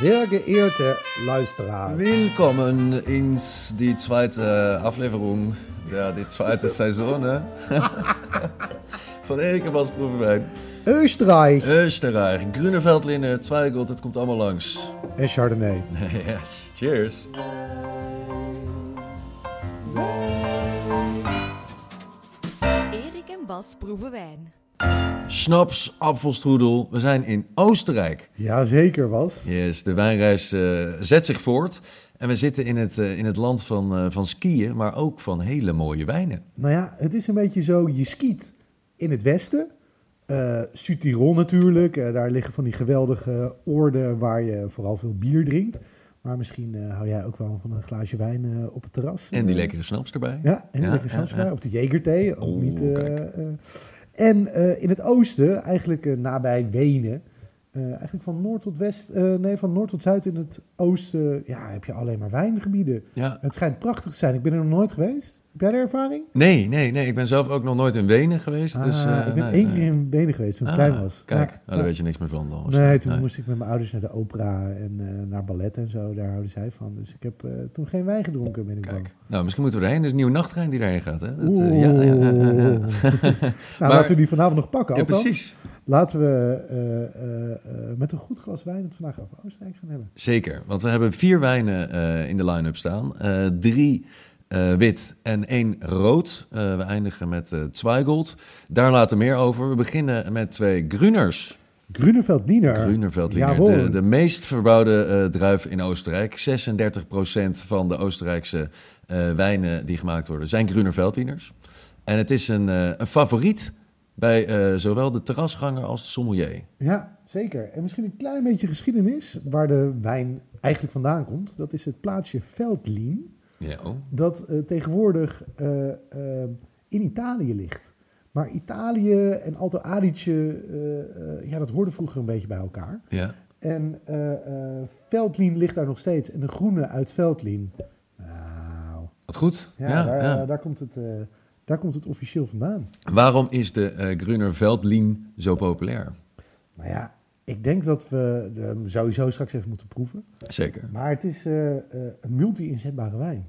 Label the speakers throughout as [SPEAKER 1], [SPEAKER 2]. [SPEAKER 1] Sehr geehrte luisteraars.
[SPEAKER 2] Willkommen in die tweede aflevering, ja, die tweede seizoen hè? van Ekenbas Proeverwijn.
[SPEAKER 1] Österreich.
[SPEAKER 2] Österreich, Grunewaldliner, Zweigelt, het komt allemaal langs.
[SPEAKER 1] En Chardonnay.
[SPEAKER 2] yes, cheers.
[SPEAKER 3] Erik en Bas proeven wijn.
[SPEAKER 2] Schnaps, appelstrudel, we zijn in Oostenrijk.
[SPEAKER 1] Ja, zeker was.
[SPEAKER 2] Yes, de wijnreis eh, zet zich voort. En we zitten in het, eh, in het land van, eh, van skiën, maar ook van hele mooie wijnen.
[SPEAKER 1] Nou ja, het is een beetje zo, je skiet in het westen. eh Sutiron natuurlijk, eh, daar liggen van die geweldige oorden waar je vooral veel bier drinkt. Maar misschien eh, hou jij ook wel van een glaasje wijn eh, op het terras.
[SPEAKER 2] En die lekkere snaps erbij.
[SPEAKER 1] Ja, en die
[SPEAKER 2] Ja,
[SPEAKER 1] lekkere
[SPEAKER 2] ja,
[SPEAKER 1] sausje bij, Of de Jegerthee. Ook
[SPEAKER 2] Oeh,
[SPEAKER 1] niet, eh,
[SPEAKER 2] kijk.
[SPEAKER 1] eh. en eh, in het oosten, eigenlijk eh, nabij Wenen. eh, eigenlijk van noord tot west, eh, nee, van noord tot zuid in het oosten ja, heb je alleen maar wijngebieden.
[SPEAKER 2] Ja.
[SPEAKER 1] Het schijnt prachtig te zijn. Ik ben er nog nooit geweest. Heb jij er ervaring?
[SPEAKER 2] Nee, nee, nee. Ik ben zelf ook nog nooit in Wenen geweest. dus,
[SPEAKER 1] Ah,
[SPEAKER 2] eh,
[SPEAKER 1] ik ben
[SPEAKER 2] nee,
[SPEAKER 1] één
[SPEAKER 2] nee.
[SPEAKER 1] keer in Wenen geweest toen ik
[SPEAKER 2] Ah,
[SPEAKER 1] klein was.
[SPEAKER 2] Kijk,
[SPEAKER 1] Ja,
[SPEAKER 2] nou, daar
[SPEAKER 1] ja.
[SPEAKER 2] weet je niks meer van dan.
[SPEAKER 1] Nee, toen
[SPEAKER 2] Nee.
[SPEAKER 1] moest ik met mijn ouders naar de opera en eh, naar ballet en zo. Daar houden zij van. Dus ik heb eh, toen geen wijn gedronken, ben ik bang.
[SPEAKER 2] Kijk. Nou, misschien moeten we erheen. Er is een nieuwe nachttrein die daarheen gaat. Hè? Dat, eh,
[SPEAKER 1] Oeh.
[SPEAKER 2] ja, ja, ja, ja, ja.
[SPEAKER 1] nou, laten we die vanavond nog pakken.
[SPEAKER 2] Ja,
[SPEAKER 1] Althans,
[SPEAKER 2] precies.
[SPEAKER 1] Laten we eh, eh, eh, met een goed glas wijn het vandaag over Oostenrijk gaan hebben.
[SPEAKER 2] Zeker, want we hebben vier wijnen eh, in de line-up staan. Eh, drie eh, wit en één rood. Eh, we eindigen met eh Zweigold. Daar later meer over. We beginnen met twee Gruners.
[SPEAKER 1] Gruneveld Niener.
[SPEAKER 2] Grünerveldliner,
[SPEAKER 1] Eh, Jawohl.
[SPEAKER 2] de, de meest verbouwde eh, druif in Oostenrijk. 36% van de Oostenrijkse eh, wijnen die gemaakt worden zijn Grünerveldliners. En het is een, eh, een favoriet bij eh, zowel de terrasganger als de sommelier.
[SPEAKER 1] Ja, zeker. En misschien een klein beetje geschiedenis waar de wijn eigenlijk vandaan komt. Dat is het plaatsje Veldlin,
[SPEAKER 2] Ja, oh.
[SPEAKER 1] dat eh, tegenwoordig eh, eh, in Italië ligt. Maar Italië en Alto Adige, eh, eh, ja, dat hoorde vroeger een beetje bij elkaar.
[SPEAKER 2] ja.
[SPEAKER 1] En eh, eh, Veldlin ligt daar nog steeds. En de groene uit Veldlin. Nou,
[SPEAKER 2] wat goed.
[SPEAKER 1] ja, daar, eh, daar, komt het, eh, daar komt het officieel vandaan.
[SPEAKER 2] Waarom is de eh Grünerveldlin zo populair?
[SPEAKER 1] Nou ja, ik denk dat we hem sowieso straks even moeten proeven.
[SPEAKER 2] Zeker.
[SPEAKER 1] Maar het is eh, eh, een multi-inzetbare wijn.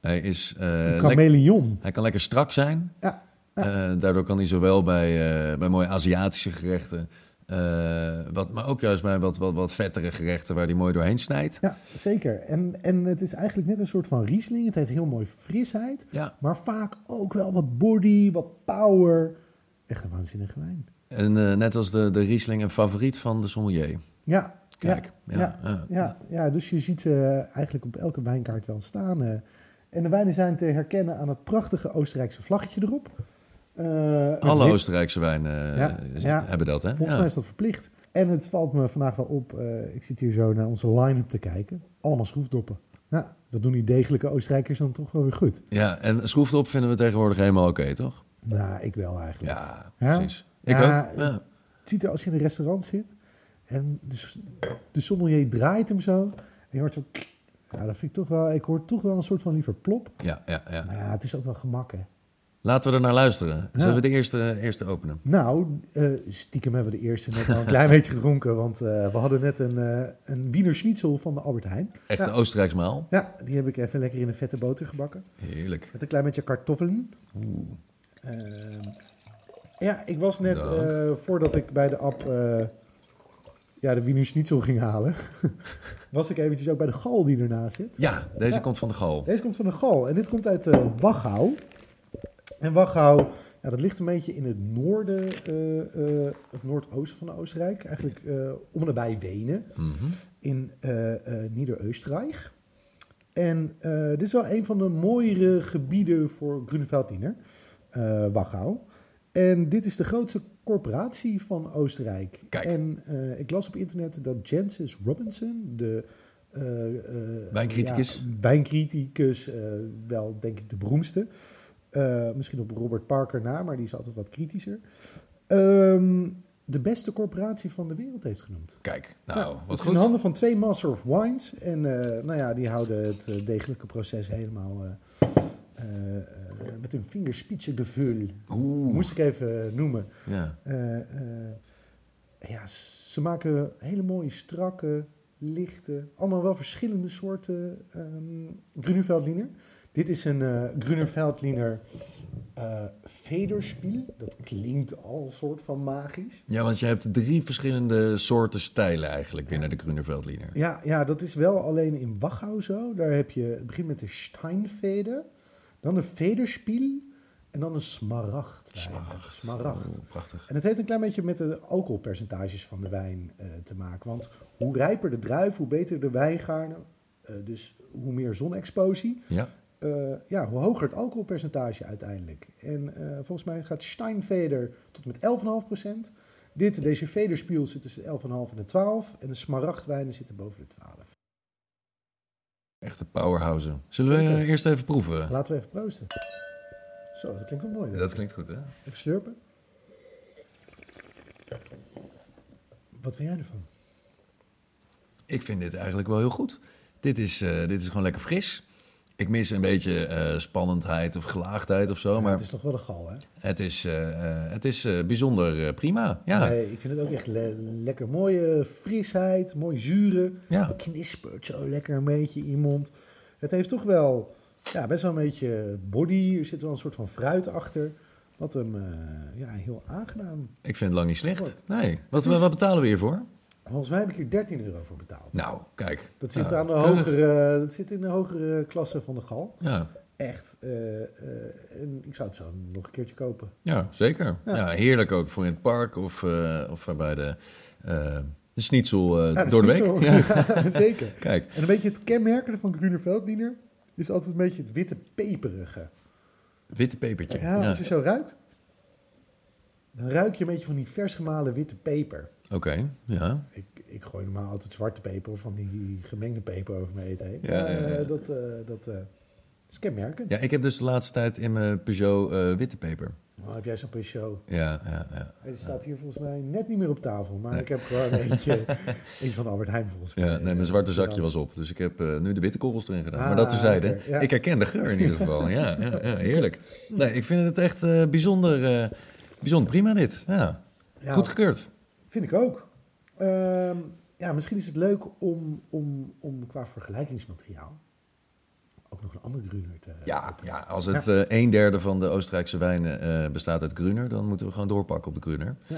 [SPEAKER 2] Hij, is, eh,
[SPEAKER 1] Een
[SPEAKER 2] lek-
[SPEAKER 1] chameleon.
[SPEAKER 2] hij kan lekker strak zijn.
[SPEAKER 1] Ja,
[SPEAKER 2] Eh, daardoor kan hij zowel bij, eh, bij mooie Aziatische gerechten, eh, wat, maar ook juist bij wat, wat, wat vettere gerechten waar hij mooi doorheen snijdt.
[SPEAKER 1] ja, zeker. En, en het is eigenlijk net een soort van Riesling. Het heeft heel mooi frisheid.
[SPEAKER 2] Ja.
[SPEAKER 1] Maar vaak ook wel wat body, wat power. Echt een waanzinnige wijn.
[SPEAKER 2] En eh, net als de, de Riesling, een favoriet van de sommelier.
[SPEAKER 1] Ja,
[SPEAKER 2] Kijk,
[SPEAKER 1] ja,
[SPEAKER 2] ja,
[SPEAKER 1] ja, ja,
[SPEAKER 2] ja.
[SPEAKER 1] ja. dus je ziet ze eigenlijk op elke wijnkaart wel staan. eh. En de wijnen zijn te herkennen aan het prachtige Oostenrijkse vlaggetje erop. Eh, met
[SPEAKER 2] Alle
[SPEAKER 1] wit-
[SPEAKER 2] Oostenrijkse wijnen eh,
[SPEAKER 1] Ja,
[SPEAKER 2] z-
[SPEAKER 1] ja.
[SPEAKER 2] hebben dat, hè?
[SPEAKER 1] Volgens
[SPEAKER 2] Ja.
[SPEAKER 1] mij is dat verplicht. En het valt me vandaag wel op, eh, ik zit hier zo naar onze line-up te kijken. Allemaal schroefdoppen. Ja, dat doen die degelijke Oostenrijkers dan toch wel weer goed.
[SPEAKER 2] ja, en schroefdop vinden we tegenwoordig helemaal oké, toch?
[SPEAKER 1] Nou, ik wel eigenlijk.
[SPEAKER 2] Ja,
[SPEAKER 1] Ja?
[SPEAKER 2] precies. Ik
[SPEAKER 1] Ja,
[SPEAKER 2] ook. Ja.
[SPEAKER 1] Het ziet er als je in een restaurant zit en de, s- de sommelier draait hem zo. En je hoort zo... Ja, dat vind ik toch wel... Ik hoor toch wel een soort van liever plop.
[SPEAKER 2] Ja, ja, ja.
[SPEAKER 1] Maar ja, het is ook wel gemak, hè.
[SPEAKER 2] Laten we er naar luisteren. Zullen we de eerste, eerste openen?
[SPEAKER 1] Nou, eh, stiekem hebben we de eerste net al een klein beetje gedronken. Want eh, we hadden net een, eh een Wiener Schnitzel van de Albert Heijn.
[SPEAKER 2] Echt
[SPEAKER 1] Ja.
[SPEAKER 2] een Oostenrijks maal.
[SPEAKER 1] Ja, die heb ik even lekker in een vette boter gebakken.
[SPEAKER 2] Heerlijk.
[SPEAKER 1] Met een klein beetje kartoffelen. Ehm, ja, ik was net,
[SPEAKER 2] Dank.
[SPEAKER 1] eh, voordat ik bij de app eh, ja, de Wiener Schnitzel ging halen, was ik eventjes ook bij de gal die ernaast zit.
[SPEAKER 2] Ja, deze
[SPEAKER 1] Ja.
[SPEAKER 2] komt van de gal.
[SPEAKER 1] Deze komt van de gal en dit komt uit eh, Wachau. En Wachau, ja, dat ligt een beetje in het noorden, eh, eh, het noordoosten van Oostenrijk. Eigenlijk eh om en nabij Wenen
[SPEAKER 2] Mhm.
[SPEAKER 1] in eh eh Nieder-Österreich. En eh, dit is wel een van de mooiere gebieden voor Grunewaldiner, eh Wachau. En dit is de grootste corporatie van Oostenrijk.
[SPEAKER 2] Kijk.
[SPEAKER 1] En eh, ik las op internet dat Jancis Robinson, de eh, eh,
[SPEAKER 2] Wijncriticus.
[SPEAKER 1] ja, wijncriticus, eh, wel denk ik de beroemdste. Eh, misschien op Robert Parker na, maar die is altijd wat kritischer. Ehm, de beste corporatie van de wereld heeft genoemd.
[SPEAKER 2] Kijk,
[SPEAKER 1] Nou,
[SPEAKER 2] nou,
[SPEAKER 1] het
[SPEAKER 2] wat
[SPEAKER 1] is in
[SPEAKER 2] goed.
[SPEAKER 1] handen van twee Master of Wines. En eh, nou ja, die houden het eh, degelijke proces helemaal eh, eh, eh, met hun vingerspitsengevoel.
[SPEAKER 2] Oeh.
[SPEAKER 1] Moest ik even noemen.
[SPEAKER 2] Ja.
[SPEAKER 1] Eh, eh, ja, s- ze maken hele mooie, strakke, lichte, allemaal wel verschillende soorten ehm Grunewaldliner. Dit is een eh Grunewaldliner eh Federspiel. Dat klinkt al een soort van magisch.
[SPEAKER 2] Ja, want je hebt drie verschillende soorten stijlen eigenlijk binnen de Grüneveldliner.
[SPEAKER 1] Ja, ja, dat is wel alleen in Wachau zo. Daar heb je, het begint met de Steinfeder, dan de Federspiel en dan een smaragd. Smaragd. smaragd.
[SPEAKER 2] Oh, prachtig.
[SPEAKER 1] En het heeft een klein beetje met de alcoholpercentages van de wijn eh, te maken. Want hoe rijper de druif, hoe beter de wijngaarden, eh, dus hoe meer zonexposie,
[SPEAKER 2] Ja.
[SPEAKER 1] eh, ja, hoe hoger het alcoholpercentage uiteindelijk. En eh, volgens mij gaat Steinveder tot en met 11,5%. Dit, deze vederspiel zit tussen de 11,5 en de 12. En de smaragdwijnen zitten boven de 12.
[SPEAKER 2] Echte powerhouse. Zullen we eh, eerst even proeven?
[SPEAKER 1] Laten we even proosten. Zo, dat klinkt wel mooi.
[SPEAKER 2] Dat klinkt goed, hè?
[SPEAKER 1] Even slurpen. Wat vind jij ervan?
[SPEAKER 2] Ik vind dit eigenlijk wel heel goed. Dit is, eh, dit is gewoon lekker fris. Ik mis een beetje eh, spannendheid of gelaagdheid of zo.
[SPEAKER 1] Maar
[SPEAKER 2] Maar
[SPEAKER 1] het is nog wel een gal, hè?
[SPEAKER 2] het is, eh, eh, het is eh, bijzonder eh, prima. Ja.
[SPEAKER 1] Nee, ik vind het ook echt le- lekker. Mooie frisheid, mooi zure.
[SPEAKER 2] Ja.
[SPEAKER 1] Knispert zo lekker een beetje in je mond. Het heeft toch wel ja, best wel een beetje body. Er zit wel een soort van fruit achter. Wat hem eh, ja, heel aangenaam.
[SPEAKER 2] Ik vind het lang niet slecht.
[SPEAKER 1] Goed.
[SPEAKER 2] Nee. Wat, wat betalen we hiervoor?
[SPEAKER 1] Volgens mij heb ik hier 13 euro voor betaald.
[SPEAKER 2] Nou, kijk.
[SPEAKER 1] Dat zit,
[SPEAKER 2] Ah,
[SPEAKER 1] aan de
[SPEAKER 2] keurig.
[SPEAKER 1] hogere, dat zit in de hogere klasse van de gal.
[SPEAKER 2] Ja.
[SPEAKER 1] Echt. eh, eh, en ik zou het zo nog een keertje kopen.
[SPEAKER 2] Ja, zeker. Ja.
[SPEAKER 1] Ja.
[SPEAKER 2] heerlijk ook voor in het park of, eh, of bij de, eh de schnitzel eh,
[SPEAKER 1] Ja, dat
[SPEAKER 2] door de
[SPEAKER 1] is
[SPEAKER 2] week.
[SPEAKER 1] niet
[SPEAKER 2] Ja,
[SPEAKER 1] zo. Ja, zeker.
[SPEAKER 2] kijk,
[SPEAKER 1] En een beetje het kenmerkende van Grunevelddiener is altijd een beetje het witte peperige.
[SPEAKER 2] witte pepertje.
[SPEAKER 1] Ja,
[SPEAKER 2] Ja,
[SPEAKER 1] als je zo ruikt, dan ruik je een beetje van die vers gemalen witte peper.
[SPEAKER 2] Oké, ja.
[SPEAKER 1] Ik, ik gooi normaal altijd zwarte peper of van die gemengde peper over mijn eten heen.
[SPEAKER 2] Ja,
[SPEAKER 1] Maar,
[SPEAKER 2] ja, ja.
[SPEAKER 1] eh, dat, eh, dat eh, is kenmerkend.
[SPEAKER 2] Ja, ik heb dus de laatste tijd in mijn Peugeot eh, witte peper.
[SPEAKER 1] Oh, heb jij zo'n Peugeot?
[SPEAKER 2] Ja, ja, ja.
[SPEAKER 1] Hij staat hier volgens mij net niet meer op tafel, maar ik heb gewoon eentje, eentje van Albert Heijn volgens mij.
[SPEAKER 2] Ja, nee, mijn zwarte zakje was op, dus ik heb eh, nu de witte korrels erin gedaan. maar dat terzijde,
[SPEAKER 1] Ah, oké, ja.
[SPEAKER 2] ik herken de geur in ieder geval. Ja, ja, ja, heerlijk. Nee, ik vind het echt eh, bijzonder, eh, bijzonder prima dit. Ja,
[SPEAKER 1] Ja,
[SPEAKER 2] goed gekeurd.
[SPEAKER 1] Vind ik ook. Ehm, ja, misschien is het leuk om, om, om qua vergelijkingsmateriaal ook nog een andere Gruner te...
[SPEAKER 2] Ja, ja als het eh een derde van de Oostenrijkse wijnen eh, bestaat uit Gruner, dan moeten we gewoon doorpakken op de Gruner.
[SPEAKER 1] Ja.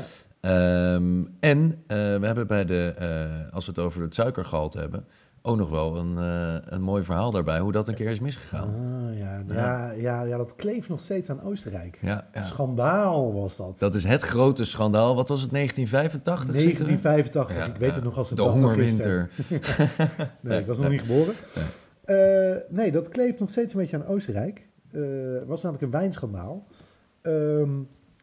[SPEAKER 2] Ehm, en eh, we hebben bij de, eh, als we het over het suikergehalte hebben, ook nog wel een, eh, een mooi verhaal daarbij hoe dat een keer is misgegaan.
[SPEAKER 1] Ah, ja, ja, ja, ja, dat kleeft nog steeds aan Oostenrijk.
[SPEAKER 2] Ja, ja.
[SPEAKER 1] Schandaal was dat.
[SPEAKER 2] Dat is het grote schandaal. Wat was het, 1985? zitten we?
[SPEAKER 1] 1985,
[SPEAKER 2] Ja,
[SPEAKER 1] ik weet
[SPEAKER 2] ja.
[SPEAKER 1] het nog als het
[SPEAKER 2] De
[SPEAKER 1] dag van gisteren.
[SPEAKER 2] hongerwinter.
[SPEAKER 1] Nee, ik was nog niet geboren. Eh, nee, dat kleeft nog steeds een beetje aan Oostenrijk. Eh, Er was namelijk een wijnschandaal. Ehm,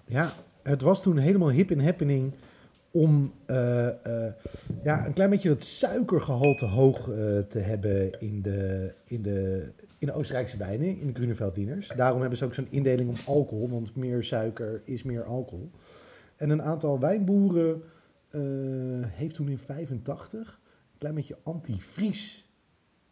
[SPEAKER 1] ja, het was toen helemaal hip en happening om eh, eh, ja, een klein beetje dat suikergehalte hoog eh, te hebben in de, in, de, in de Oostenrijkse wijnen, in de Grunevelddiners. Daarom hebben ze ook zo'n indeling om alcohol, want meer suiker is meer alcohol. En een aantal wijnboeren eh, heeft toen in 85 een klein beetje antivries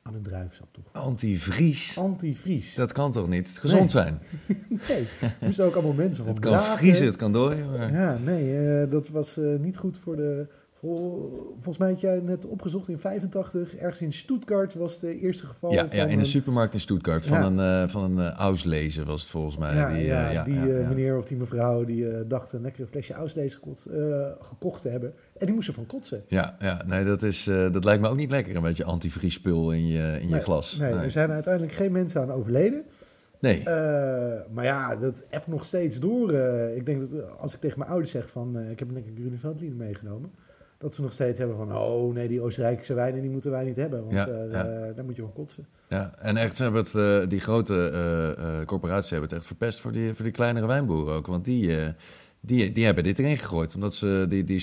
[SPEAKER 1] aan hun druivensap toegevoegd.
[SPEAKER 2] Antivries.
[SPEAKER 1] Antivries.
[SPEAKER 2] Dat kan toch niet? Gezond
[SPEAKER 1] Nee.
[SPEAKER 2] zijn.
[SPEAKER 1] Nee, er moesten ook allemaal mensen van
[SPEAKER 2] Het kan
[SPEAKER 1] Braken.
[SPEAKER 2] vriezen, het kan dooien. Maar...
[SPEAKER 1] Ja, nee, eh, dat was eh, niet goed voor de... vol- volgens mij had jij net opgezocht in 85, ergens in Stuttgart was de eerste geval
[SPEAKER 2] Ja,
[SPEAKER 1] van
[SPEAKER 2] ja, in de
[SPEAKER 1] een-
[SPEAKER 2] supermarkt in Stuttgart. Van
[SPEAKER 1] Ja.
[SPEAKER 2] een, eh, van een eh, Auslezen was het volgens mij.
[SPEAKER 1] Ja,
[SPEAKER 2] die,
[SPEAKER 1] die,
[SPEAKER 2] eh,
[SPEAKER 1] ja,
[SPEAKER 2] ja,
[SPEAKER 1] die
[SPEAKER 2] ja,
[SPEAKER 1] eh,
[SPEAKER 2] ja.
[SPEAKER 1] meneer of die mevrouw die eh, dacht een lekkere flesje Auslees gekocht, eh, gekocht te hebben. En die moest ervan kotsen.
[SPEAKER 2] Ja, ja, nee, dat, is, eh, dat lijkt me ook niet lekker. Een beetje antivriespul in je, in je
[SPEAKER 1] nee,
[SPEAKER 2] glas.
[SPEAKER 1] Nee, er zijn uiteindelijk geen mensen aan overleden.
[SPEAKER 2] Nee.
[SPEAKER 1] Eh, maar ja, dat appt nog steeds door. Eh, ik denk dat eh, als ik tegen mijn ouders zeg van... eh, ik heb een lekker Grunewaldliner meegenomen... dat ze nog steeds hebben van... oh nee, die Oostenrijkse wijnen die moeten wij niet hebben... want
[SPEAKER 2] Ja,
[SPEAKER 1] eh,
[SPEAKER 2] ja.
[SPEAKER 1] eh, daar moet je van kotsen.
[SPEAKER 2] Ja, en echt, ze hebben het, eh, die grote eh, eh, corporaties hebben het echt verpest voor die, voor die kleinere wijnboeren ook. Want die, eh, die, die hebben dit erin gegooid, omdat ze die, die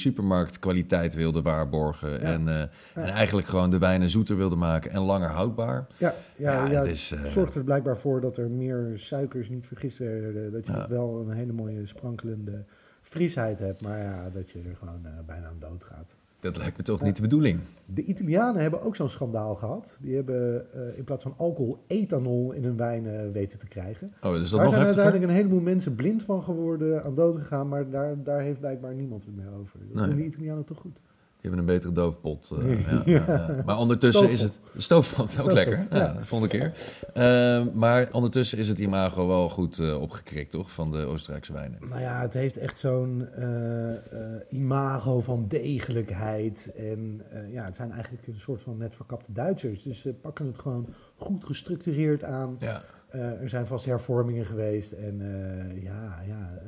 [SPEAKER 2] supermarktkwaliteit wilden waarborgen. En, eh, en eigenlijk gewoon de wijnen zoeter wilden maken en langer houdbaar.
[SPEAKER 1] Ja, ja,
[SPEAKER 2] Ja,
[SPEAKER 1] ja,
[SPEAKER 2] het
[SPEAKER 1] het
[SPEAKER 2] is, eh,
[SPEAKER 1] zorgt er blijkbaar voor dat er meer suikers niet vergist werden... dat je
[SPEAKER 2] Ja.
[SPEAKER 1] nog wel een hele mooie sprankelende frisheid hebt... maar ja, dat je er gewoon eh, bijna aan dood gaat.
[SPEAKER 2] Dat lijkt me toch niet de bedoeling. Oh,
[SPEAKER 1] De Italianen hebben ook zo'n schandaal gehad. Die hebben eh, in plaats van alcohol ethanol in hun wijn eh, weten te krijgen...
[SPEAKER 2] Oh,
[SPEAKER 1] Daar
[SPEAKER 2] dus dat nog
[SPEAKER 1] zijn
[SPEAKER 2] heftiger?
[SPEAKER 1] uiteindelijk een heleboel mensen blind van geworden, aan dood gegaan, maar daar, daar heeft blijkbaar niemand het meer over. Dat
[SPEAKER 2] Nee.
[SPEAKER 1] doen de Italianen toch goed.
[SPEAKER 2] hebben een betere doofpot. eh, ja, ja, ja. Maar ondertussen is het... Stoofpot, ook
[SPEAKER 1] Stoofpot,
[SPEAKER 2] lekker. Ja,
[SPEAKER 1] ja.
[SPEAKER 2] volgende keer. Eh, maar ondertussen is het imago wel goed eh, opgekrikt, toch? Van de Oostenrijkse wijnen.
[SPEAKER 1] Nou ja, het heeft echt zo'n eh, eh, imago van degelijkheid. En eh, ja, het zijn eigenlijk een soort van net verkapte Duitsers. Dus ze pakken het gewoon goed gestructureerd aan.
[SPEAKER 2] Ja.
[SPEAKER 1] Eh, er zijn vast hervormingen geweest. En eh, ja, ja eh,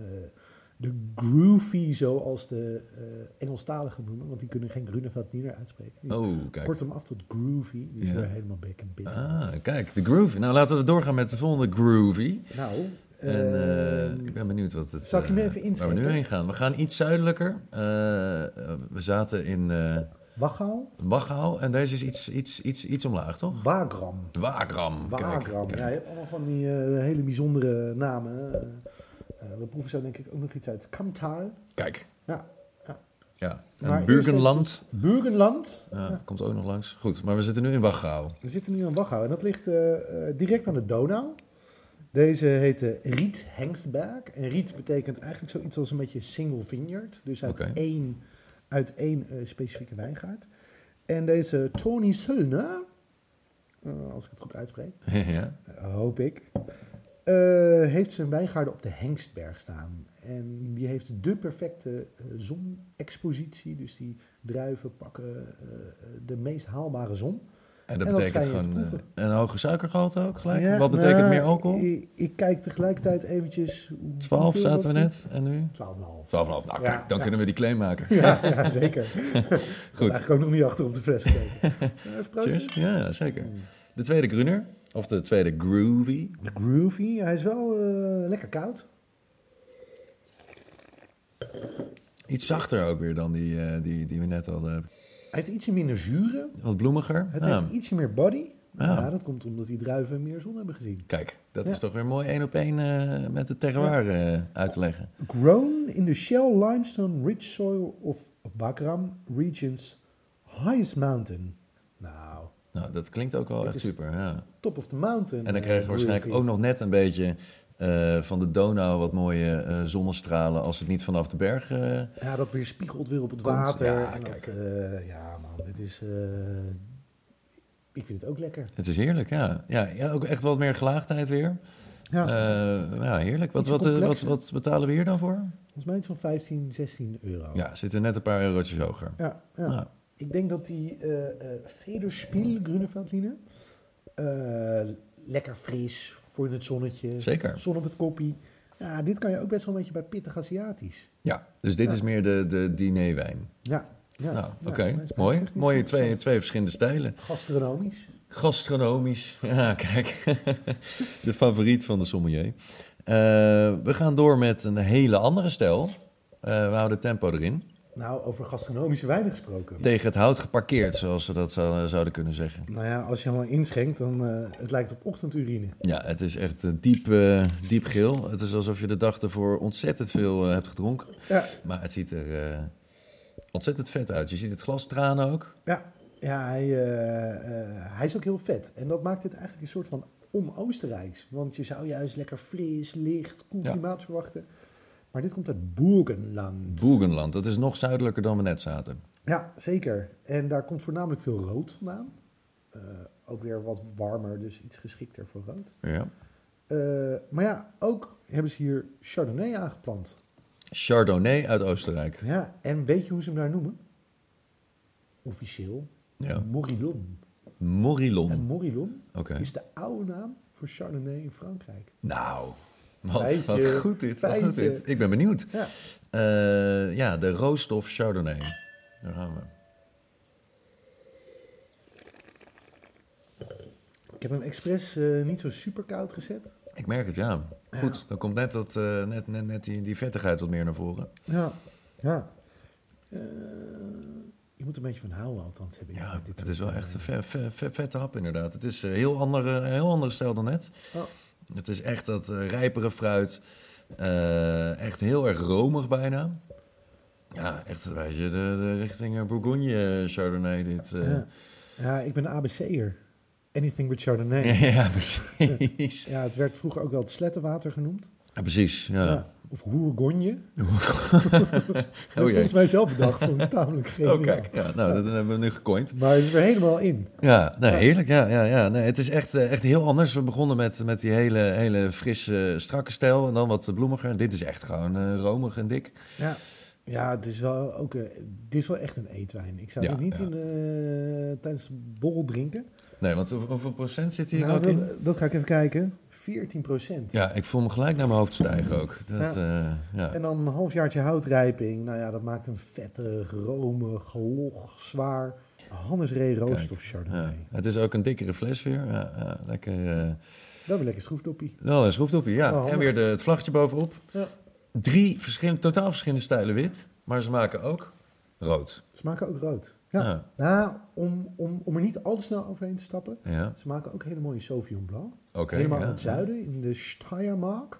[SPEAKER 1] de groovy, zoals de eh Engelstaligen noemen, want die kunnen geen Grunewald-Niener uitspreken. Die
[SPEAKER 2] Oh, kijk.
[SPEAKER 1] Kort hem af tot groovy, die is
[SPEAKER 2] Ja.
[SPEAKER 1] weer helemaal back in business.
[SPEAKER 2] Ah, kijk, de groovy. Nou, laten we doorgaan met de volgende groovy.
[SPEAKER 1] Nou,
[SPEAKER 2] En eh,
[SPEAKER 1] ehm,
[SPEAKER 2] ik ben benieuwd wat het...
[SPEAKER 1] zal ik hem
[SPEAKER 2] eh,
[SPEAKER 1] even
[SPEAKER 2] Waar we
[SPEAKER 1] inschieten?
[SPEAKER 2] nu heen gaan. We gaan iets zuidelijker. Eh, eh, we zaten in eh
[SPEAKER 1] Wachau?
[SPEAKER 2] Wachau en deze is iets, iets, iets, iets omlaag, toch?
[SPEAKER 1] Wagram.
[SPEAKER 2] Wagram. kijk,
[SPEAKER 1] Wagram.
[SPEAKER 2] kijk.
[SPEAKER 1] Ja, je hebt allemaal van die eh, hele bijzondere namen. Eh, eh, we proeven zo denk ik ook nog iets uit Kamtaal.
[SPEAKER 2] Kijk.
[SPEAKER 1] Ja, ja.
[SPEAKER 2] Ja.
[SPEAKER 1] Maar
[SPEAKER 2] En
[SPEAKER 1] eerst
[SPEAKER 2] Burgenland.
[SPEAKER 1] eventjes Burgenland.
[SPEAKER 2] Ja, komt ook nog langs. Goed, maar we zitten nu in Wachau.
[SPEAKER 1] We zitten nu aan Wachau en dat ligt eh, eh, direct aan de Donau. Deze heette Riet Hengstberg. En Riet betekent eigenlijk zoiets als een beetje single vineyard. Dus uit
[SPEAKER 2] Oké.
[SPEAKER 1] één, uit één eh, specifieke wijngaard. En deze Tony Sulner, eh, als ik het goed uitspreek,
[SPEAKER 2] ja.
[SPEAKER 1] Eh, hoop ik. Eh, heeft zijn wijngaarden op de Hengstberg staan. En die heeft de perfecte eh, zonexpositie. Dus die druiven pakken eh, de meest haalbare zon.
[SPEAKER 2] En
[SPEAKER 1] dat
[SPEAKER 2] dat
[SPEAKER 1] sta
[SPEAKER 2] betekent
[SPEAKER 1] je te
[SPEAKER 2] gewoon eh,
[SPEAKER 1] proeven.
[SPEAKER 2] een hoger suikergehalte ook gelijk.
[SPEAKER 1] Ja,
[SPEAKER 2] Wat betekent
[SPEAKER 1] nou,
[SPEAKER 2] meer alcohol?
[SPEAKER 1] Ik, ik kijk tegelijkertijd eventjes...
[SPEAKER 2] 12 zaten we net en nu?
[SPEAKER 1] 12,5.
[SPEAKER 2] 12,5. Nou, kijk,
[SPEAKER 1] Ja,
[SPEAKER 2] dan
[SPEAKER 1] ja.
[SPEAKER 2] kunnen we die claim maken.
[SPEAKER 1] Ja, ja, zeker. Goed. eigenlijk ook nog niet achter op de fles gekeken. Even proosten.
[SPEAKER 2] Cheers. Ja, zeker. De tweede Gruner, of de tweede Groovy.
[SPEAKER 1] Groovy. Hij is wel eh, lekker koud.
[SPEAKER 2] Iets zachter ook weer dan die, eh, die, die we net hadden.
[SPEAKER 1] Hij heeft ietsje minder zuren.
[SPEAKER 2] Wat bloemiger.
[SPEAKER 1] Het
[SPEAKER 2] Ah,
[SPEAKER 1] heeft ietsje meer body.
[SPEAKER 2] Ja.
[SPEAKER 1] Ja, dat komt omdat die druiven meer zon hebben gezien.
[SPEAKER 2] Kijk, dat
[SPEAKER 1] Ja.
[SPEAKER 2] is toch weer mooi één op één eh, met de terroir eh, uit te leggen.
[SPEAKER 1] Grown in the shell limestone rich soil of Bagram region's highest mountain. Nou,
[SPEAKER 2] Nou, dat klinkt ook wel
[SPEAKER 1] Dit
[SPEAKER 2] echt
[SPEAKER 1] is-
[SPEAKER 2] super, ja.
[SPEAKER 1] top of the mountain.
[SPEAKER 2] En dan
[SPEAKER 1] eh,
[SPEAKER 2] krijgen we waarschijnlijk ook
[SPEAKER 1] groovy.
[SPEAKER 2] nog net een beetje eh, van de Donau wat mooie eh, zonnestralen als het niet vanaf de berg... eh,
[SPEAKER 1] Ja, dat weer spiegelt weer op het
[SPEAKER 2] Komt,
[SPEAKER 1] water.
[SPEAKER 2] ja,
[SPEAKER 1] en dat,
[SPEAKER 2] kijk.
[SPEAKER 1] eh, ja, man, dit is... eh, ik vind het ook lekker.
[SPEAKER 2] het is heerlijk, ja. ja. Ja, ook echt wat meer gelaagdheid weer.
[SPEAKER 1] Ja.
[SPEAKER 2] Eh, ja, heerlijk. Wat,
[SPEAKER 1] Iets
[SPEAKER 2] wat, eh, wat,
[SPEAKER 1] complexer.
[SPEAKER 2] wat betalen we hier dan voor?
[SPEAKER 1] Volgens mij iets van 15, 16 euro.
[SPEAKER 2] Ja, zitten net een paar eurotjes hoger.
[SPEAKER 1] ja, ja.
[SPEAKER 2] Nou,
[SPEAKER 1] Ik denk dat die eh eh Federspiel Grunewaldliner eh, lekker fris voor in het zonnetje.
[SPEAKER 2] Zeker.
[SPEAKER 1] Zon op het koppie. Ja, dit kan je ook best wel een beetje bij pittig Aziatisch.
[SPEAKER 2] ja, dus dit is meer de, de dinerwijn.
[SPEAKER 1] Ja. ja
[SPEAKER 2] nou,
[SPEAKER 1] ja,
[SPEAKER 2] oké,
[SPEAKER 1] dat is-
[SPEAKER 2] mooi.
[SPEAKER 1] dat is echt niet
[SPEAKER 2] Mooie
[SPEAKER 1] zo-
[SPEAKER 2] twee,
[SPEAKER 1] zo
[SPEAKER 2] twee verschillende stijlen.
[SPEAKER 1] Gastronomisch.
[SPEAKER 2] Gastronomisch. Ja, kijk. de favoriet van de sommelier. Eh, we gaan door met een hele andere stijl. Eh, we houden tempo erin.
[SPEAKER 1] Nou, over gastronomische wijnen gesproken.
[SPEAKER 2] Tegen het hout geparkeerd, zoals ze dat zou- zouden kunnen zeggen.
[SPEAKER 1] Nou ja, als je hem inschenkt, dan eh, het lijkt op ochtendurine.
[SPEAKER 2] Ja, het is echt eh, diep, eh, diep geel. Het is alsof je de dag ervoor ontzettend veel eh, hebt gedronken.
[SPEAKER 1] Ja,
[SPEAKER 2] Maar het ziet er eh, ontzettend vet uit. Je ziet het glas tranen ook.
[SPEAKER 1] ja. ja hij, eh, eh, hij is ook heel vet. En dat maakt dit eigenlijk een soort van on-Oostenrijks. Want je zou juist lekker fris, licht, koel
[SPEAKER 2] Ja.
[SPEAKER 1] klimaat verwachten. Maar dit komt uit Burgenland.
[SPEAKER 2] Boegenland, dat is nog zuidelijker dan we net zaten.
[SPEAKER 1] Ja, zeker. En daar komt voornamelijk veel rood vandaan. Eh, ook weer wat warmer, dus iets geschikter voor rood.
[SPEAKER 2] Ja.
[SPEAKER 1] Eh, maar ja, ook hebben ze hier Chardonnay aangeplant.
[SPEAKER 2] Chardonnay uit Oostenrijk.
[SPEAKER 1] Ja, en weet je hoe ze hem daar noemen? Officieel.
[SPEAKER 2] Ja.
[SPEAKER 1] Morillon. En
[SPEAKER 2] Morillon.
[SPEAKER 1] Morillon
[SPEAKER 2] Oké.
[SPEAKER 1] is de oude naam voor Chardonnay in Frankrijk.
[SPEAKER 2] Nou, wat,
[SPEAKER 1] Feitje,
[SPEAKER 2] wat goed dit. Wat
[SPEAKER 1] feitje.
[SPEAKER 2] goed dit. Ik ben benieuwd.
[SPEAKER 1] Ja.
[SPEAKER 2] Eh, ja, de rooststof Chardonnay. Daar gaan we.
[SPEAKER 1] Ik heb hem expres eh, niet zo super koud gezet.
[SPEAKER 2] Ik merk het, ja. Goed, dan komt net, dat, eh, net, net, net die, die vettigheid wat meer naar voren.
[SPEAKER 1] Ja. ja. Eh, je moet er een beetje van houden, althans. Heb ik
[SPEAKER 2] Ja,
[SPEAKER 1] met dit
[SPEAKER 2] het
[SPEAKER 1] soort,
[SPEAKER 2] is wel
[SPEAKER 1] eh,
[SPEAKER 2] echt een ve- ve- ve- vette hap inderdaad. Het is een heel andere, een heel andere stijl dan net.
[SPEAKER 1] Oh.
[SPEAKER 2] Het is echt dat eh, rijpere fruit. eh, echt heel erg romig bijna. Ja, echt weet je, de, de richting eh, Bourgogne eh, Chardonnay dit. eh.
[SPEAKER 1] Ja. Ja, ik ben een ABC'er. Anything but Chardonnay.
[SPEAKER 2] Ja, precies.
[SPEAKER 1] Ja, het werd vroeger ook wel het slettenwater genoemd.
[SPEAKER 2] Ja, precies, ja.
[SPEAKER 1] Ja.
[SPEAKER 2] Ja.
[SPEAKER 1] Of Hoergonje.
[SPEAKER 2] jee.
[SPEAKER 1] dat heb volgens mij zelf bedacht. Vond ik tamelijk geniaal.
[SPEAKER 2] Oh, kijk. Ja, nou, dat hebben we nu gecoind.
[SPEAKER 1] Maar het is weer helemaal in.
[SPEAKER 2] Ja, nou, heerlijk. Ja, ja, ja. Nee, het is echt, eh, echt heel anders. We begonnen met, met die hele, hele frisse, eh, strakke stijl. En dan wat eh, bloemiger. Dit is echt gewoon eh, romig en dik.
[SPEAKER 1] Ja, ja het, is wel ook, eh, dit is wel echt een eetwijn. Ik zou
[SPEAKER 2] Ja,
[SPEAKER 1] dit niet
[SPEAKER 2] ja.
[SPEAKER 1] in, eh, tijdens een borrel drinken.
[SPEAKER 2] Nee, want hoe- hoeveel procent zit hier
[SPEAKER 1] Nou,
[SPEAKER 2] ook in?
[SPEAKER 1] dat, dat ga ik even kijken. 14 procent.
[SPEAKER 2] Ja, ik voel me gelijk naar mijn hoofd stijgen ook. Dat, eh, ja.
[SPEAKER 1] En dan een halfjaartje houtrijping. Nou ja, dat maakt een vettig, romig, log, zwaar. Hannes Ree roost
[SPEAKER 2] Kijk,
[SPEAKER 1] of Chardonnay.
[SPEAKER 2] Ja. Het is ook een dikkere fles weer. Ja, ja, lekker. eh,
[SPEAKER 1] Dat is lekker schroefdoppie.
[SPEAKER 2] Wel een schroefdoppie,
[SPEAKER 1] Oh,
[SPEAKER 2] ja.
[SPEAKER 1] handig.
[SPEAKER 2] en weer de, het vlaggetje bovenop.
[SPEAKER 1] Ja.
[SPEAKER 2] Drie verschillende, totaal verschillende stijlen wit. Maar ze maken ook rood.
[SPEAKER 1] Ze maken ook rood. Ja.
[SPEAKER 2] Ja.
[SPEAKER 1] Nou, om, om, om er niet al te snel overheen te stappen.
[SPEAKER 2] Ja,
[SPEAKER 1] Ze maken ook hele mooie Sauvignon Blanc.
[SPEAKER 2] oké.
[SPEAKER 1] Helemaal
[SPEAKER 2] ja.
[SPEAKER 1] in het zuiden, in de Steiermark.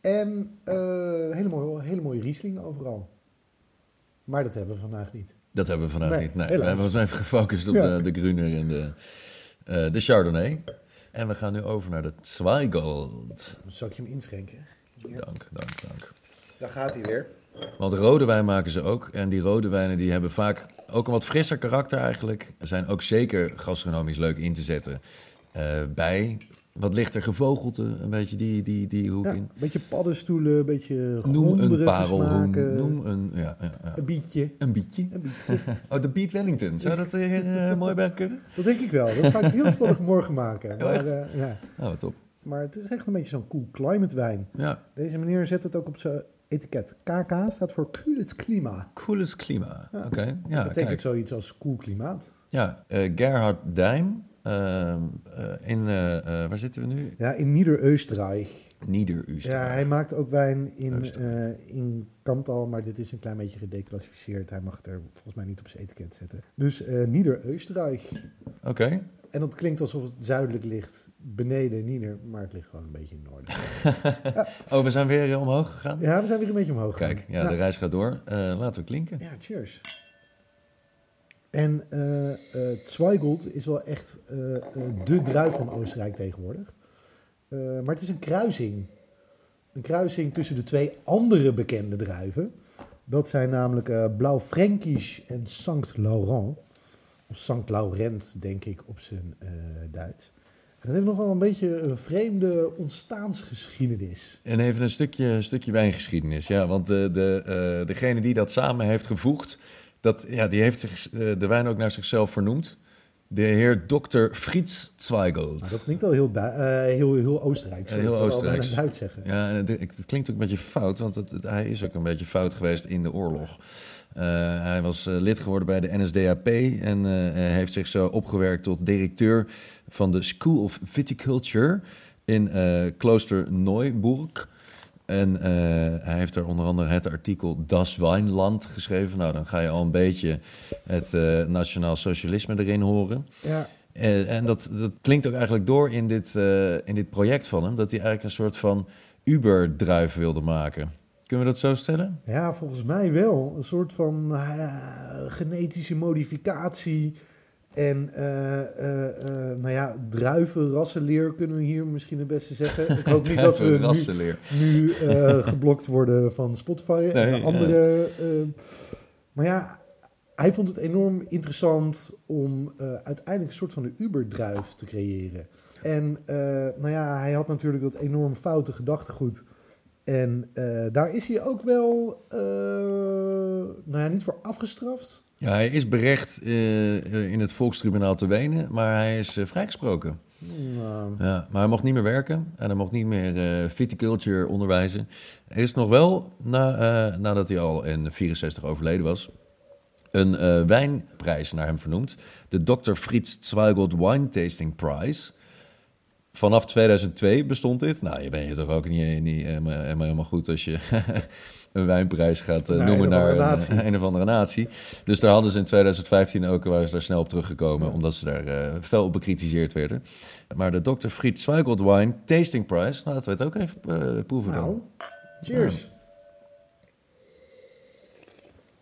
[SPEAKER 1] En eh, hele, mooie, hele mooie Riesling overal. Maar dat hebben we vandaag niet.
[SPEAKER 2] Dat hebben we vandaag
[SPEAKER 1] Nee,
[SPEAKER 2] niet. Nee,
[SPEAKER 1] helaas.
[SPEAKER 2] we hebben ons even gefocust op
[SPEAKER 1] Ja.
[SPEAKER 2] de, de Gruner en de, eh, de Chardonnay. En we gaan nu over naar de Zweigold.
[SPEAKER 1] Dan zal ik je hem inschenken.
[SPEAKER 2] Dank, dank, dank.
[SPEAKER 1] Daar gaat hij weer.
[SPEAKER 2] Want rode wijn maken ze ook. En die rode wijnen die hebben vaak ook een wat frisser karakter eigenlijk. Zijn ook zeker gastronomisch leuk in te zetten. eh, bij wat lichter gevogelte, een beetje die, die, die hoek
[SPEAKER 1] Ja,
[SPEAKER 2] in.
[SPEAKER 1] een beetje paddenstoelen, een beetje
[SPEAKER 2] Noem een
[SPEAKER 1] gronderige
[SPEAKER 2] parelhoen,
[SPEAKER 1] smaken.
[SPEAKER 2] noem een... Ja, ja, ja.
[SPEAKER 1] Een bietje.
[SPEAKER 2] Een bietje.
[SPEAKER 1] Een bietje.
[SPEAKER 2] Oh, de Beat Wellington. Zou dat er eh, mooi bij kunnen?
[SPEAKER 1] Dat denk ik wel. Dat ga ik heel toevallig morgen maken.
[SPEAKER 2] Oh,
[SPEAKER 1] Maar,
[SPEAKER 2] echt?
[SPEAKER 1] eh, ja.
[SPEAKER 2] Oh, top.
[SPEAKER 1] maar het is echt een beetje zo'n cool climate wijn.
[SPEAKER 2] Ja,
[SPEAKER 1] Deze meneer zet het ook op zijn etiket. KK staat voor Coolest Klima.
[SPEAKER 2] coolest klima. Oké, ja,
[SPEAKER 1] dat betekent
[SPEAKER 2] kijk.
[SPEAKER 1] zoiets als cool klimaat.
[SPEAKER 2] Ja, eh, Gerhard Dijm. ehm, eh, in, eh, eh, waar zitten we nu?
[SPEAKER 1] Ja, in Nieder-Österreich. Ja,
[SPEAKER 2] Nieder-Oostenrijk.
[SPEAKER 1] hij maakt ook wijn in,
[SPEAKER 2] Luister.
[SPEAKER 1] eh in Kamtal, maar dit is een klein beetje gedeclassificeerd. Hij mag het er volgens mij niet op zijn etiket zetten. Dus eh Nieder-Österreich.
[SPEAKER 2] Oké.
[SPEAKER 1] En dat klinkt alsof het zuidelijk ligt, beneden Nieder, maar het ligt gewoon een beetje in het noorden.
[SPEAKER 2] Oh, we zijn weer eh, omhoog gegaan?
[SPEAKER 1] Ja, we zijn weer een beetje omhoog gegaan.
[SPEAKER 2] Kijk, ja,
[SPEAKER 1] Nou,
[SPEAKER 2] de reis gaat door. Eh, laten we klinken.
[SPEAKER 1] ja, cheers. En eh eh Zweigold is wel echt eh, eh, de druif van Oostenrijk tegenwoordig. Eh, maar het is een kruising. Een kruising tussen de twee andere bekende druiven. Dat zijn namelijk eh Blauw Fränkisch en Sankt Laurent. Of Sankt Laurent, denk ik, op zijn eh, Duits. En dat heeft nogal een beetje een vreemde ontstaansgeschiedenis.
[SPEAKER 2] En even een stukje, stukje wijngeschiedenis. Ja, want de, de, eh, degene die dat samen heeft gevoegd, dat, ja, die heeft zich, eh, de wijn ook naar zichzelf vernoemd. De heer Dr. Fritz Zweigelt.
[SPEAKER 1] Maar Ah, dat klinkt al heel, Du- eh, heel, heel Oostenrijk.
[SPEAKER 2] Eh, heel
[SPEAKER 1] Ik
[SPEAKER 2] Oostenrijks.
[SPEAKER 1] wil Duits zeggen.
[SPEAKER 2] Ja, en het, het klinkt ook een beetje fout, want het, het- hij is ook een beetje fout geweest in de oorlog. Eh, hij was eh, lid geworden bij de NSDAP en eh, eh, heeft zich zo opgewerkt tot directeur van de School of Viticulture in eh, klooster Neuburg. En eh, hij heeft er onder andere het artikel Das Weinland geschreven. Nou, dan ga je al een beetje het eh, nationaal socialisme erin horen.
[SPEAKER 1] Ja,
[SPEAKER 2] Eh, en dat, dat klinkt ook eigenlijk door in dit, eh, in dit project van hem, dat hij eigenlijk een soort van Uber-druif wilde maken. Kunnen we dat zo stellen?
[SPEAKER 1] ja, volgens mij wel. Een soort van eh, genetische modificatie. En eh, eh, eh, nou ja, druivenrassenleer kunnen we hier misschien het beste zeggen. Ik hoop niet dat we nu,
[SPEAKER 2] Rassenleer.
[SPEAKER 1] nu eh, geblokt worden van Spotify en
[SPEAKER 2] Nee, ja.
[SPEAKER 1] andere. eh, maar ja, hij vond het enorm interessant om eh, uiteindelijk een soort van de Uber-druif te creëren. En eh, nou ja, hij had natuurlijk dat enorm foute gedachtegoed. En eh, daar is hij ook wel, eh, nou ja, niet voor afgestraft.
[SPEAKER 2] Ja, hij is berecht eh, eh, in het Volkstribunaal te Wenen, maar hij is eh, vrijgesproken.
[SPEAKER 1] Nou,
[SPEAKER 2] Ja, maar hij mocht niet meer werken en hij mocht niet meer eh, viticulture onderwijzen. Er is nog wel, na, eh, nadat hij al in 64 overleden was, een eh, wijnprijs naar hem vernoemd. De Dr. Fritz Zweigold Wine Tasting Prize. Vanaf 2002 bestond dit. Nou, je bent je toch ook niet, niet eh, helemaal, helemaal helemaal goed als je een wijnprijs gaat eh,
[SPEAKER 1] Naar
[SPEAKER 2] noemen
[SPEAKER 1] een of
[SPEAKER 2] naar
[SPEAKER 1] andere
[SPEAKER 2] een,
[SPEAKER 1] natie.
[SPEAKER 2] een of andere natie. Dus daar hadden ze in 2015 ook, waren ze daar snel op teruggekomen, omdat ze daar eh, fel op bekritiseerd werden. Maar de Dr. Fritz Zweigold Wine Tasting Prize, nou, laten we het ook even eh, proeven.
[SPEAKER 1] nou,
[SPEAKER 2] dan.
[SPEAKER 1] cheers.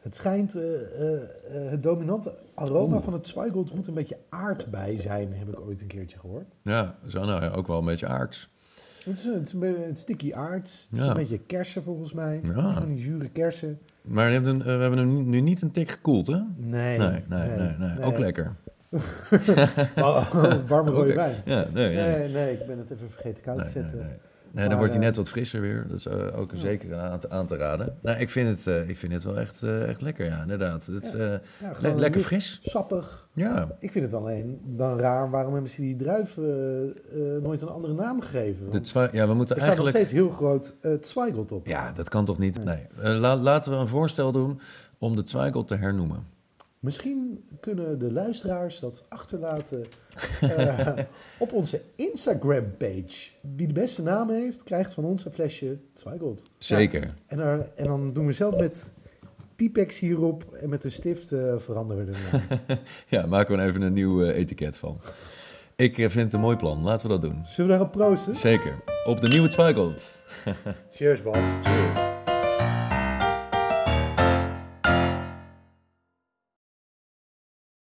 [SPEAKER 1] Het schijnt, eh, eh, eh, het dominante aroma van het Zweigold moet een beetje aardbei zijn, heb ik ooit een keertje gehoord.
[SPEAKER 2] Ja, zo nou ja, ook wel een beetje aards.
[SPEAKER 1] Het is, het is een beetje- het is sticky aards. Het is
[SPEAKER 2] Ja.
[SPEAKER 1] een beetje kersen volgens mij.
[SPEAKER 2] Ja.
[SPEAKER 1] Van die zure kersen.
[SPEAKER 2] Maar je hebt een, eh, we hebben hem nu niet een tik gekoeld, hè?
[SPEAKER 1] Nee.
[SPEAKER 2] Nee, nee, nee. nee, Ook lekker.
[SPEAKER 1] Oh, oh, warme
[SPEAKER 2] Ook
[SPEAKER 1] rode wijn.
[SPEAKER 2] lekker. Ja, nee, nee.
[SPEAKER 1] Nee, nee, ik ben het even vergeten koud te
[SPEAKER 2] Nee,
[SPEAKER 1] zetten.
[SPEAKER 2] nee, nee. Nee, dan
[SPEAKER 1] Maar,
[SPEAKER 2] wordt hij
[SPEAKER 1] eh,
[SPEAKER 2] net wat frisser weer. Dat is eh, ook zeker aan te, aan te raden. Nou, ik vind het, eh, ik vind het wel echt, eh, echt lekker, ja, inderdaad. Het is
[SPEAKER 1] Ja.
[SPEAKER 2] eh,
[SPEAKER 1] Ja,
[SPEAKER 2] le-
[SPEAKER 1] gewoon
[SPEAKER 2] lekker
[SPEAKER 1] licht,
[SPEAKER 2] fris.
[SPEAKER 1] Sappig.
[SPEAKER 2] Ja,
[SPEAKER 1] Ik vind het alleen dan raar waarom hebben ze die druif eh, eh, nooit een andere naam gegeven.
[SPEAKER 2] de
[SPEAKER 1] Want
[SPEAKER 2] twa- ja we moeten
[SPEAKER 1] er staat nog
[SPEAKER 2] eigenlijk...
[SPEAKER 1] steeds heel groot eh Zweigelt op.
[SPEAKER 2] Ja, dat kan toch niet? Nee. Eh, la- laten we een voorstel doen om de Zweigel te hernoemen.
[SPEAKER 1] Misschien kunnen de luisteraars dat achterlaten eh, op onze Instagram-page. Wie de beste naam heeft, krijgt van ons een flesje Zweigelt.
[SPEAKER 2] Zeker.
[SPEAKER 1] En, er- en dan doen we zelf met Tipex hierop en met een stift eh, veranderen we de naam.
[SPEAKER 2] Ja, maken we er even een nieuw eh, etiket van. Ik eh, vind het een mooi plan. Laten we dat doen.
[SPEAKER 1] Zullen we daarop proosten?
[SPEAKER 2] Zeker. Op de nieuwe Zweigel.
[SPEAKER 1] Cheers, Bas.
[SPEAKER 2] Cheers.